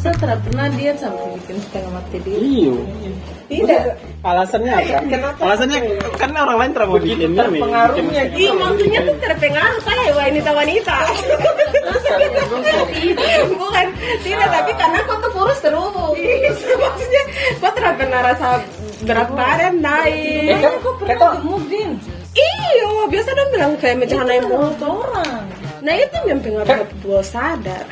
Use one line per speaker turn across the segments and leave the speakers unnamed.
Saya tidak pernah diet sampai bikin setengah mati dia.
Iya.
Tidak.
Alasannya apa?
Kenapa?
Alasannya karena orang lain terlalu
Begitu terpengaruhnya
Ih, maksudnya tuh terpengaruh saya wanita-wanita. Bukan, tidak, tapi karena kau tuh kurus
Iya.
terus. Maksudnya, kau tidak pernah rasa berat badan naik.
kok Iya, kan pernah gemuk din?
Iyo, biasa dong bilang kayak mecahan naik mulu.
orang.
Nah itu yang pengaruh gue sadar.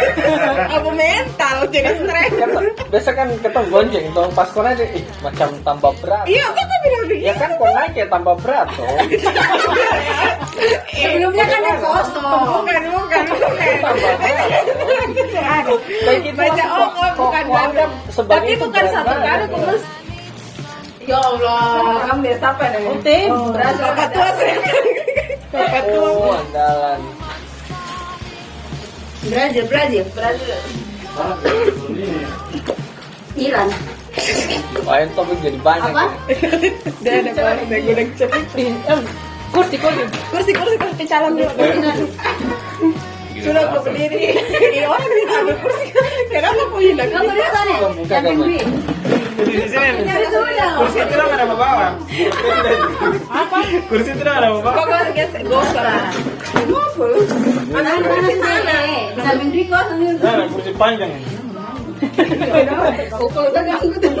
Apa mental jadi stres.
Kata, biasa kan kita gonjeng tuh pas kau naik ih, macam tambah berat.
Iya, kok tuh bilang
Ya
begitu.
kan kau naik ya tambah berat tuh.
Sebelumnya kan yang kosong. Bukan, bukan, bukan.
Kayak gitu
Baca
langsung
oh, oh,
kok- kok-
bukan
kok anggap
baru.
sebagai
Tapi
itu
bukan
berat
satu
badan,
kali
ya.
kurus. Ya Allah, kamu desa apa nih? Oh, Utin, berasa bapak tua sih. Bapak tua.
Oh, andalan.
Brazil, Brazil, Brazil.
Iran.
Lain topik jadi banyak.
Apa?
Dia ada banget, gue udah cepet.
Kursi kursi.
Eh, kursi kursi kursi calon dulu sudah aku berdiri ini orang di sana kursi kenapa aku hilang
Kamu di sana? ya?
Buka
Yang
gambar.
negeri.
Jadi di sini
Dari Sunda.
kursi itu ada apa bawah? Apa? Kursi itu ada apa bawah?
kok gue geser gosor ngobrol
Orang di sana. Dari negeri kok.
Nah, kursi panjang.
pukul udah gak ngikutin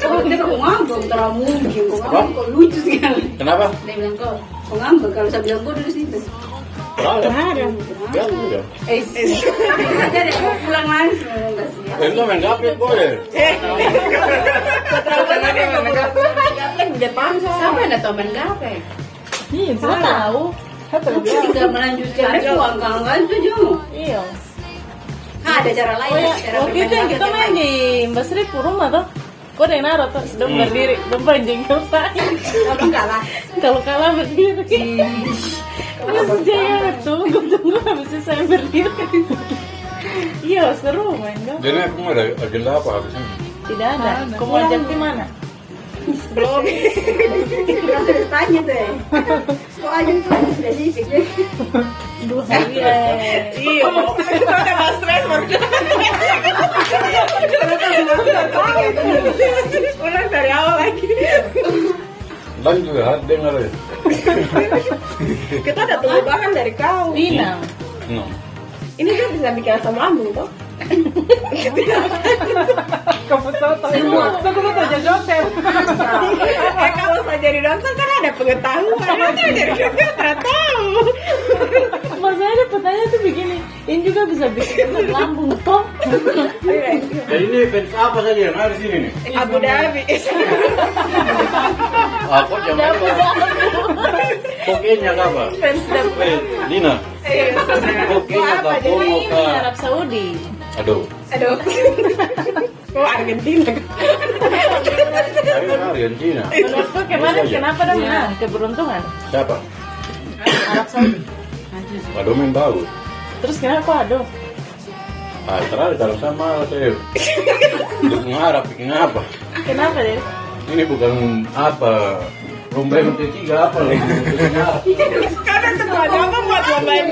Kok dia kok ngambek terlalu mungkin. Kok ngambek kok lucu sekali.
Kenapa?
Dia bilang kok kok ngambek kalau saya bilang kok dulu situ. Eh, saja deh kok pulang langsung. Enggak sih.
eh terlalu banyak yang ngomong gaplek di depan
Siapa yang ada teman gape? Iya, tahu. Tidak melanjutkan Cari uang kalau nggak itu jauh.
Iya.
Ah, ada cara lain. ada cara
Waktu itu yang
bermain
kita
gape
main
lain.
di Mbak Sri ke rumah tuh. Kau ada yang naruh tuh, sedang berdiri, depan jengkel saya.
Kalau enggak lah.
Kalau kalah berdiri. Terus dia tunggu tunggu habis itu saya berdiri. Iya seru main dong.
Jadi aku mau ada agenda apa habis ini?
Tidak ada. Kau mau ajak di mana?
belum
Kalau ditanya deh. Kok aja tuh spesifik ya?
Dua hari ya.
iya udah gak stres baru ulang dari awal lagi
Dan juga hard dengar ya.
kita ada tunggu bahan dari kau
Pinang.
No.
ini kan bisa bikin asam lambung toh
Kamu tahu tahu. Aku mau tanya dokter.
eh kalau saya jadi dokter kan ada pengetahuan Kalau saya jadi dokter tidak tahu
Masalahnya pertanyaan tuh begini. Ini juga bisa bikin asam lambung toh.
Jadi ini fans apa saja yang ada di sini nih?
Abu Dhabi
Aku jangan apa? Kokenya apa?
fans dan
Eh, Dina, kokenya
Mau apa?
apa?
Jadi
Mau
ini
ke?
Arab Saudi.
Aduh,
aduh oh Argentina
saya kan Argentina.
Menurutku kemarin kenapa dong menang? Keberuntungan.
Siapa?
Arab Saudi.
Pak Domen tahu.
Terus kenapa aduh?
Ah, terlalu kalau sama saya. Dukung Arab, bikin apa?
Kenapa deh?
Ini bukan apa? Rumbai menteri tiga apa loh? Dukung Arab.
karena semua apa buat membaik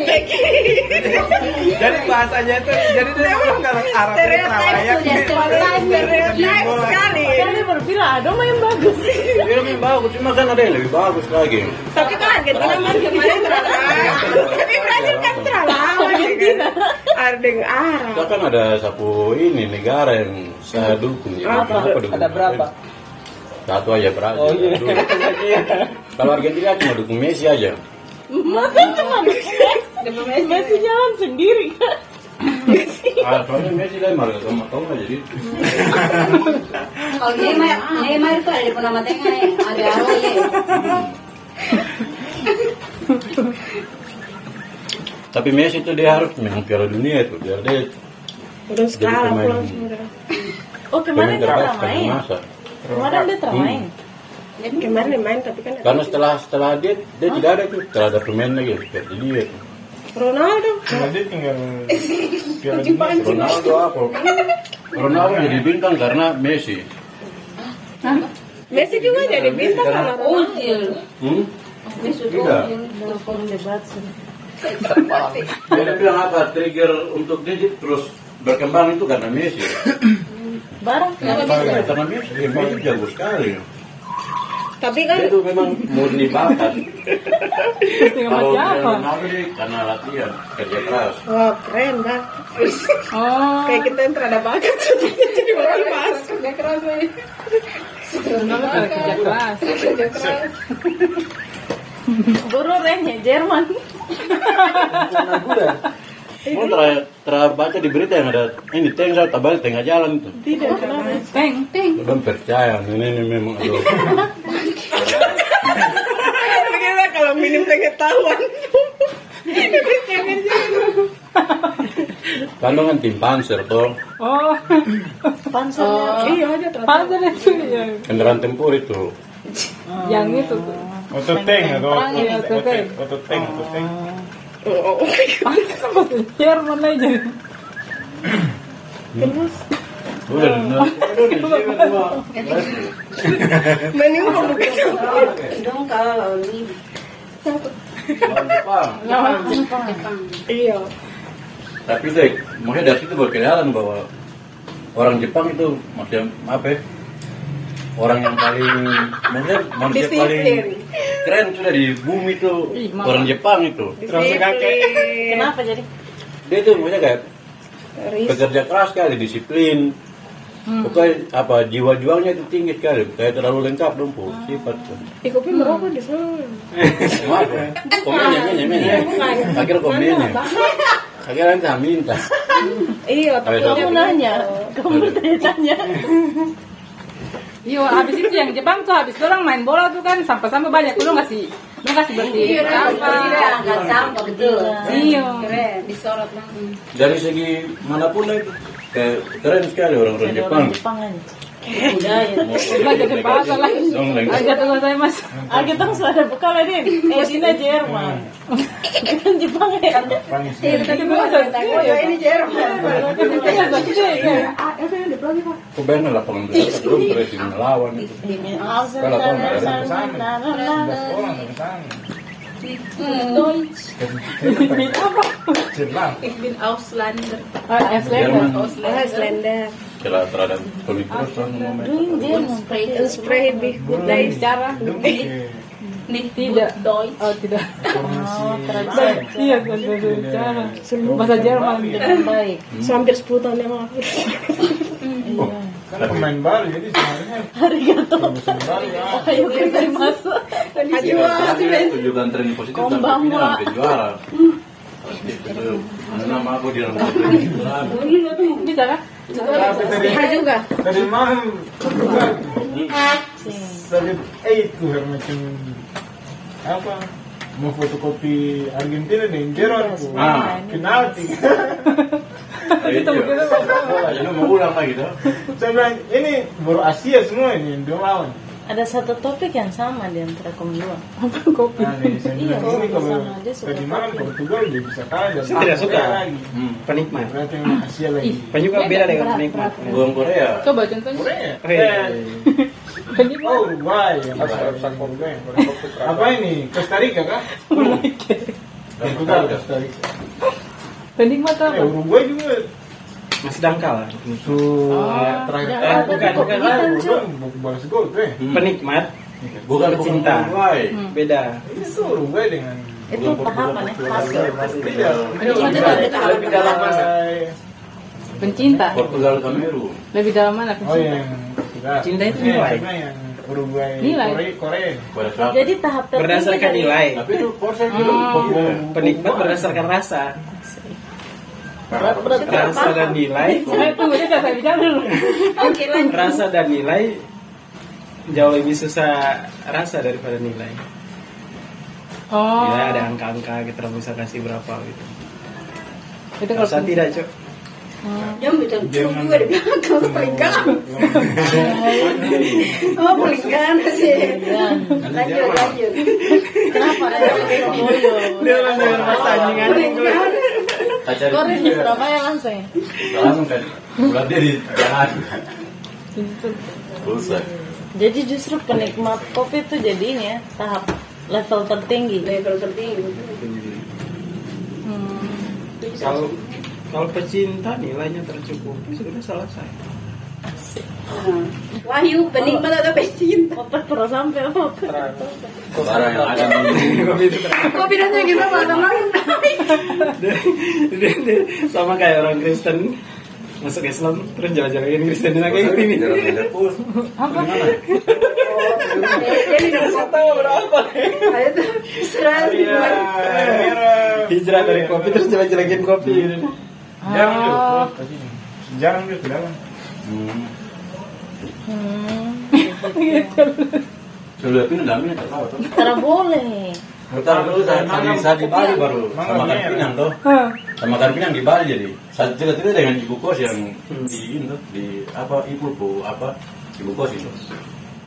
Jadi bahasanya itu jadi dia bilang kalau Arab itu
stereotip
Surabaya.
sudah
paling stereotip sekali
Kan dia berbilang aduh main bagus.
Film yang bagus, cuma kan ada yang lebih bagus lagi.
tapi kan Argentina kan kemarin terlalu tapi Brazil kan terlalu Argentina Ardeng Arab
Kita kan ada satu ini negara yang saya dukung. Jadi
Apa?
kenapa dukung
Ada Iya. berapa?
Satu aja Brazil.
Oh iya.
Dulu. Kalau Argentina cuma dukung Messi aja.
Masa cuma Messi jalan sendiri kan?
Ah, soalnya Messi kan malah sama kamu aja jadi.
Kalau Neymar, Neymar itu ada di Purnama Tengah ya. Ada apa ya?
Tapi Messi itu dia harus menang Piala Dunia itu biar dia
udah sekarang
pemain.
pulang sebenarnya
Oh
pemain
kemarin dia
terbaik
telah
sepanjang
main.
masa.
Kemarin
Iya.
dia telah
Hmm.
main.
Ya, kemarin dia main tapi kan
Karena setelah setelah dia dia tidak ada tuh, tidak ada pemain lagi seperti dia. tuh.
Ronaldo
Jadi tinggal
Ronaldo apa? Ronaldo jadi bintang karena Messi.
Messi juga jadi bintang sama
Oh,
Ronaldo.
Ozil.
Hmm?
Mesut
Tidak.
Ozil.
Dia bilang apa? Trigger untuk dia dia terus berkembang itu karena Messi.
Barang
Karena Messi. Karena Messi. Dia Messi jago sekali.
Tapi kan
Dia itu memang murni bakat.
pasti sama
Kalau dia
siapa?
Ronaldo dia karena latihan kerja keras.
wah keren dah.
Oh, Iya.
Kayak kita yang terhadap banget jadi orang pas. Kerja keras nih.
Ronaldo pada kerja keras.
Kerja keras.
Guru remnya Jerman.
Mau terakhir terakhir baca di berita yang ada ini tank saya tabrak di tengah jalan itu.
Tidak keras. Teng, teng.
Belum percaya ini, ini memang aduh.
Bagaimana kalau minum pengetahuan?
Kandungan tim panser toh
Oh,
Oh. Iya aja
panser itu yang,
kendaraan tempur itu.
iya. yang itu tuh.
Ototeng atau
Perang ya, ototeng.
Ototeng, ototeng.
Oh, oh.
Panser bahasa Jerman aja.
Udah, udah.
Menimbul bukan
Dong kalau ini
Lawan Jepang.
Iya.
Tapi deh, makanya dari situ berkeliaran bahwa orang Jepang itu maksudnya apa ya? Orang yang paling maksudnya manusia
Disiplin.
paling keren sudah di bumi itu
Ih, mama.
orang Jepang itu.
Terus kakek.
Disiplin.
Kenapa jadi?
Dia itu maksudnya kayak
Ris-
pekerja keras sekali, disiplin. Pokoknya apa jiwa juangnya itu tinggi sekali, kayak terlalu lengkap dong po, sifat.
Di kopi merokok di sana.
Maaf, ya. komennya, komennya, komennya. Akhirnya komennya. Akhirnya nanti minta.
Iya,
Tapi
Kamu nanya, kamu tanya. Iya, habis itu yang Jepang tuh habis itu orang main bola tuh kan sampah-sampah banyak. Lu ngasih, lu ngasih bersih.
Iya,
Kita
Sampah.
angkat sampah betul.
Iya.
Keren. Disorot lagi.
dari segi manapun lah itu kayak keren sekali orang-orang Jepang. Mau-
Belajar dari bahasa lagi.
Dong, lagi.
Agak tunggu saya mas. Iya.
Ah, kita harus ada buka lah, Din. Eh, Dina Jerman. Bukan Jepang ya.
Tadi gua nggak tahu.
Iya,
Oh, ya ini Jerman.
Kita nggak tahu juga, ya.
Kok bayangin lapangan besar belum terus ini melawan itu. Kalau tahu nggak ada yang
Sama. 11 orang dari sana. Jepang.
Ich bin Auslander.
Oh, Iceland.
Jerman
Oh,
Iya,
Islander.
kira terhadap kulit terus orang ngomel.
Spray lebih dari sejarah.
Nicht
Tidak.
gut Deutsch.
Oh tidak.
Oh,
Transisi.
Iya, kan Jerman. Bahasa Jerman.
Baik.
So, hampir 10 tahun yang lalu. Oh,
Karena pemain baru jadi sebenarnya musim baru ya.
Ayo kita masuk.
Aduh,
Iya, tapi tunjukkan tren positif sampai final sampai juara. Gitu. Nama aku di dalam Jepang.
Bisa kan?
Tapi tadi
Sehat juga.
tadi malam juga sakit eh itu yang macam apa mau fotokopi Argentina nih Jerman
Iya,
Bu.
Ah.
penalti
Gitu. Ini mau ulang lagi tuh.
saya bilang ini baru Asia semua ini yang dua lawan
Ada satu topik yang sama di antara kamu dua.
Kopi.
Nah, nih, saya bilang,
Iya,
ini kalau
sama dia suka
tadi malam Portugal dia bisa kalah dan
Saya tidak suka.
lagi
Penikmat.
berarti yang Asia lagi
Penyuka beda dengan penikmat.
Buang Korea.
Coba contohnya.
Korea
Hei.
Eh, oh Uruguay Uruguay. apa ini Costa Rica kah Portugal Costa Rica
Penikmat
Eh,
apa?
Uruguay juga
Masih dangkal.
Tuh, terakhir
Oh, Eh, bukan, bukan.
Ah, bukan, bukan balas gol tuh. eh.
Hmm.
Penikmat
Bukan
Pecinta.
pecinta. Uruguay.
beda.
Itu Uruguay dengan
Itu pahaman ya, masuk.
Portugal, Portugal,
tidak. Lebih dalam masa.
Pencinta.
Portugal Kamerun.
Lebih dalam mana?
Oh,
iya.
yang ketiga.
Cinta itu
Eh,
nilai.
karena yang Uruguay,
Nilai.
Korea, Korea.
Pada saat
Jadi tahap tertinggi
Berdasarkan
dari-
nilai.
tapi itu porsi dulu. Iya.
Penikmat berdasarkan rasa. Rasa dan nilai.
Saya tunggu dia saya bicara dulu.
Oke lanjut.
Rasa dan nilai jauh lebih susah rasa daripada nilai.
Oh.
Nilai ada angka-angka kita bisa kasih berapa gitu.
Itu kalau
Rasa tidak, Cuk.
Dia macam cu juga di belakang paling ganas. Oh paling ganas sih. Lanjut lanjut.
Kenapa? Ada yang
Dia dengan rasa anjing anjing.
Acara
Korea di
itu juga
Surabaya langsung ya?
langsung kan. Ulat dia di jalan.
Itu.
Rusak.
Jadi justru penikmat kopi itu jadinya tahap level tertinggi.
level tertinggi
Kalau kalau pecinta nilainya tercukupi sudah selesai.
Wahyu penikmat atau pecinta
Otak terus sampai otak.
Terang.
Barang yang ada
Kopi itu
kan.
terang.
Kok bedanya gitu sama orang lain?
Dia- dia Sama kayak orang Kristen masuk Islam terus jalan-jalan Kristen lagi
Oh,
ini.
jadi berapa itu seratus
Iya.
Iya, Hijrah dari kopi terus jalan-jalanin kopi. Jarang gitu. Jarang gitu jarang.
Sudah pindah dalamnya tak tahu tuh.
Karena boleh.
Bentar dulu saya saya- saya di Bali baru
Mangga
sama makan
merah.
pinang tuh. Sama makan pinang di Bali jadi. Saya cerita-cerita dengan ibu kos yang di ini tuh, di apa ibu bu apa ibu kos itu.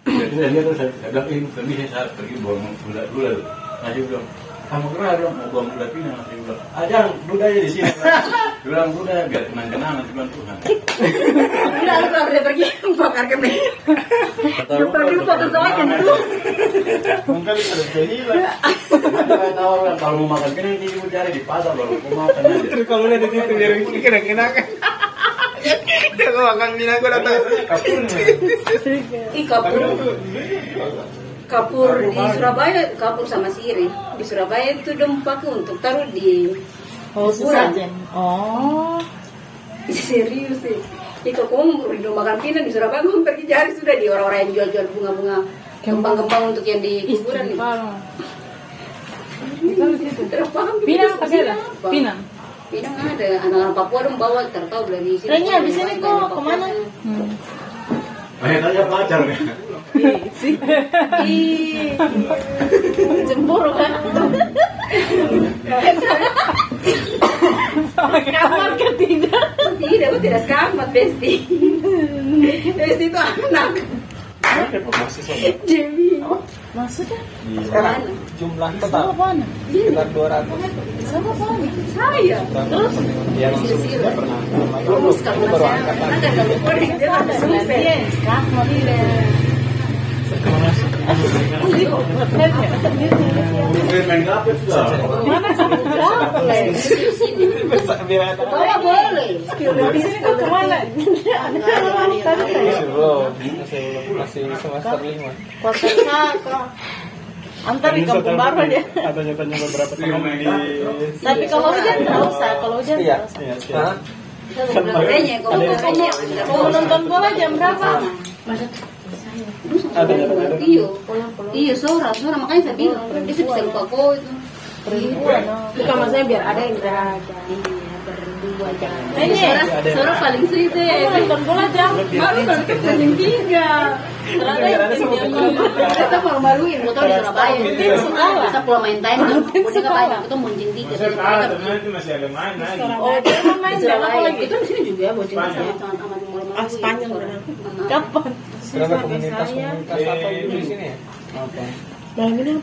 Jadi dia terus saya saya bilang "Eh, ini pergi saya- saya pergi buang gula gula. Nah dia bilang kamu kenal dong mau buang gula pinang saya bilang aja duda aja di sini. Dia bilang duda biar kenang kenangan dia bilang Tuhan.
udah aku udah pergi bakar kemen
Kata
Lupa-
Lukas,
lupa
kata
kesalahan
Lukas,
gitu.
dulu.
Mungkin terus hilang.
Saya tahu orang kalau mau makan kena ini ibu cari di pasar baru mau makan aja.
Terus kalau udah di situ biar kira kira kan. Dia gua makan minang gua datang.
Ih, kapur kapur di Surabaya kapur sama sirih di Surabaya itu dia pakai untuk taruh di
Oh,
Ukuran.
sesajen. Oh.
serius sih itu kamu di makan pinang di Surabaya kamu pergi cari sudah di orang-orang yang jual-jual bunga-bunga kembang-kembang untuk yang di kuburan gitu. itu
Istighfar.
terpaham
Pinang pakai ada? Pinang.
Pinang ada anak-anak Papua dong bawa tertahu dari sini
Renya, abis ini kok kemana?
Hmm.
Akhirnya pacar kan.
Ih,
Cemburu kan? Kamar ketiga.
tidak, aku tidak sekamat, Besti. Besti itu anak. Jamie.
Oh,
Maksudnya?
Sekarang
Jumlah
Sama
tetap
apaan?
sekitar 200
Sama apaan?
saya.
Terus dia
Iya,
langsung tidak pernah.
Lulus karena
baru
saya
angkatan.
anak dan kamu boleh. Dia tak sukses.
Iya, sekarang.
Mungkin main gaplek sudah.
Boleh. Di sini.
Biar ada.
Bawa boleh.
Di sini kok kemana?
Belum. Masih masih semester 5.
Kota Saka. Antar di kampung baru aja.
Atau nyata-nyata beberapa teman di
Tapi kalau hujan nggak usah, kalau hujan
Iya.
nggak usah.
Iya, iya.
Kayaknya kamu
Kamu
kayaknya.
mau nonton bola jam berapa?
Ada ada.
Iya, iya Sora, Sora makanya saya bilang itu bisa lupa kau itu.
Ribuan.
Bukan maksudnya biar ada yang beraja.
Iya, berdua jangan.
Ini
Sora, Sora paling sweet ya.
Kamu nonton bola jam baru nonton jam tiga. Ternyata
Ada
jam
semua
lima.
Kita malu-maluin, mau tahu di Surabaya. Kita pulang main time, udah banyak, kita muncing tiga. Kita
itu ah, masih ada mana? gitu.
Oh, dia mau main gitu? jam apa lagi?
Itu di sini juga boncing tiga.
Ah, Spanyol.
Kapan?
Karena komunitas-komunitas apa di sini ya? Apa?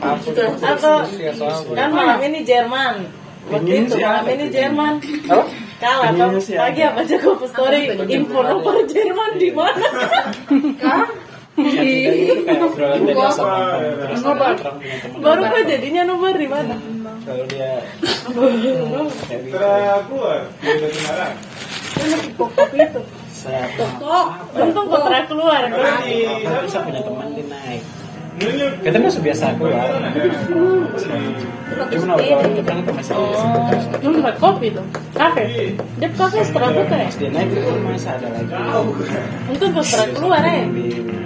Aku
Atau
soalnya.
kan malam ini Jerman. Waktu
Dingin
itu
sih,
malam
ada.
ini Jerman
Apa?
kalah
Dingin
kan
sih,
pagi apa Jacob story info nomor Jerman di mana?
Kayak obrolan tadi asal nonton. Terus ada orang punya teman.
Baru kok jadinya nomor di mana?
Kalau dia kayak gitu. Saya
Kok untung kok terakhir keluar.
Aku bisa punya teman dia naik. Kita masih biasa aku ya. Cuma obrolan kita kan masih biasa.
Lu tempat kopi tuh. Kafe.
Dia kafe setelah buka ya?
Pas dia naik itu masih ada lagi.
Untung kok setelah keluar ya?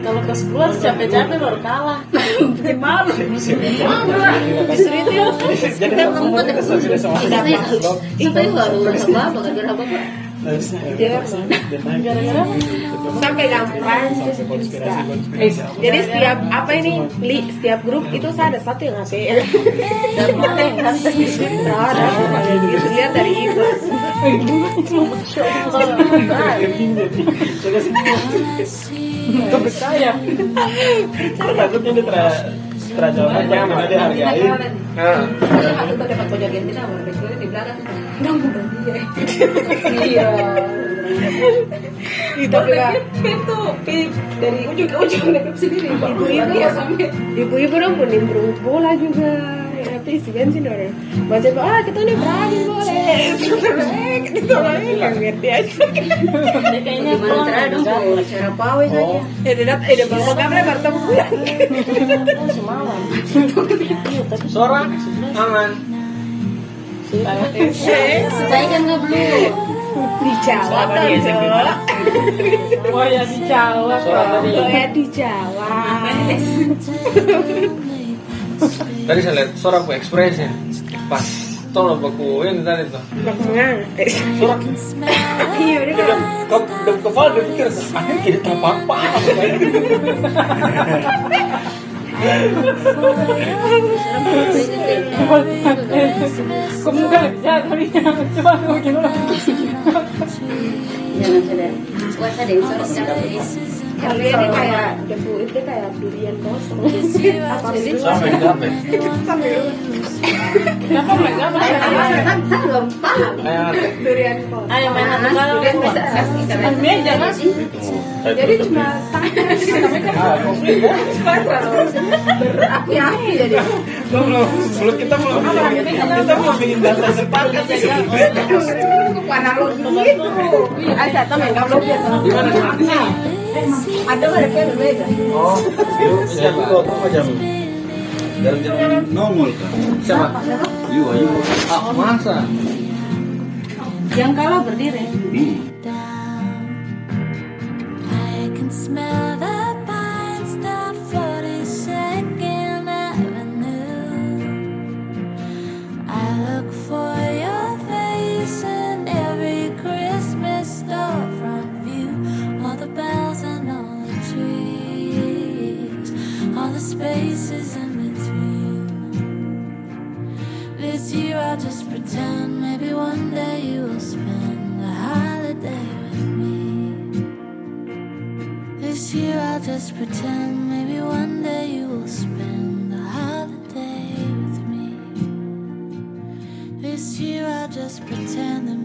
Kalau pas keluar capek-capek baru kalah. Malu. Justru itu ya.
Jadi aku mau kita sudah sama.
Sampai baru apa bakal berapa
Harusnya ya. Dia naik.
Sampai gampang.
Sampai konspirasi
Eh,
konspirasi.
Jadi setiap apa ini li, setiap grup itu saya ada satu yang ngasih. Nah, ada yang gitu lihat dari itu.
Sudah sini. Itu percaya. Saya takutnya dia ter terjawab jangan malah dihargai.
Aku tuh dapat pojok Argentina, baru di belakang. Iya.
tapi Kak,
Pip tuh, pip dari ujung ke ujung dari pip sendiri.
Iya,
Ibu-ibu ya sampai
ibu-ibu dong mau nimbrung bola juga Ya, tapi isi bensin orang baca ah Iya, kita nih berani boleh kita lagi nggak ngerti aja
Dia
gimana
kayaknya pulang
cara dong
nggak
Bu? cara pawe saja.
ya tetap eh udah bawa kamera baru tahu pulang
jalan. Oh, semalam. Iya, tapi
Seorang aman.
Saya kan nggak belum.
di Jawa
Selama
kan
di SMP
Jok.
Wah ya di Jawa.
Seorang tadi.
Doa di Jawa
Tadi saya lihat seorang bu ekspresnya. Pas tolong bakuin tadi tuh.
Bakungan Eh,
Seorang
iya udah dong.
ke dalam kepala dia pikir angin kiri terpapa.
Kamu kan lebih jahat tapi coba kamu gimana?
Jangan sudah. Puasa deh, sore jangan.
Kali ini kayak debu itu kayak durian kosong
Iya,
apa dulu
sampai sampai
sampai dulu
Kenapa nggak jahat?
Apa setan setan belum paham.
durian kosong
Ayo main hantu kalau
Sudah bisa bisa.
Ambil jangan.
itu saya
jadi
tutup.
cuma tangan
Berapi-api jadi.
Sebelum kita ya, belum kita belum bikin data sepakat
Iya, warna lo gitu ah saya tahu main kabel biasa Nah, eh,
Gimana sih?
ada nggak ada beda
Oh, itu
Siapa?
siapa?
macam dari jalan nongol kan
Siapa?
iya iya
Ah, masa?
Yang kalah berdiri.
Hmm.
I can smell the pines that floating second avenue. I look for your face in every Christmas storefront view. All the bells and all the trees, all the spaces in between. This year I'll just pretend maybe one day you will spend a holiday with me. This year I'll just pretend maybe one day you will spend the holiday with me. This year I'll just pretend that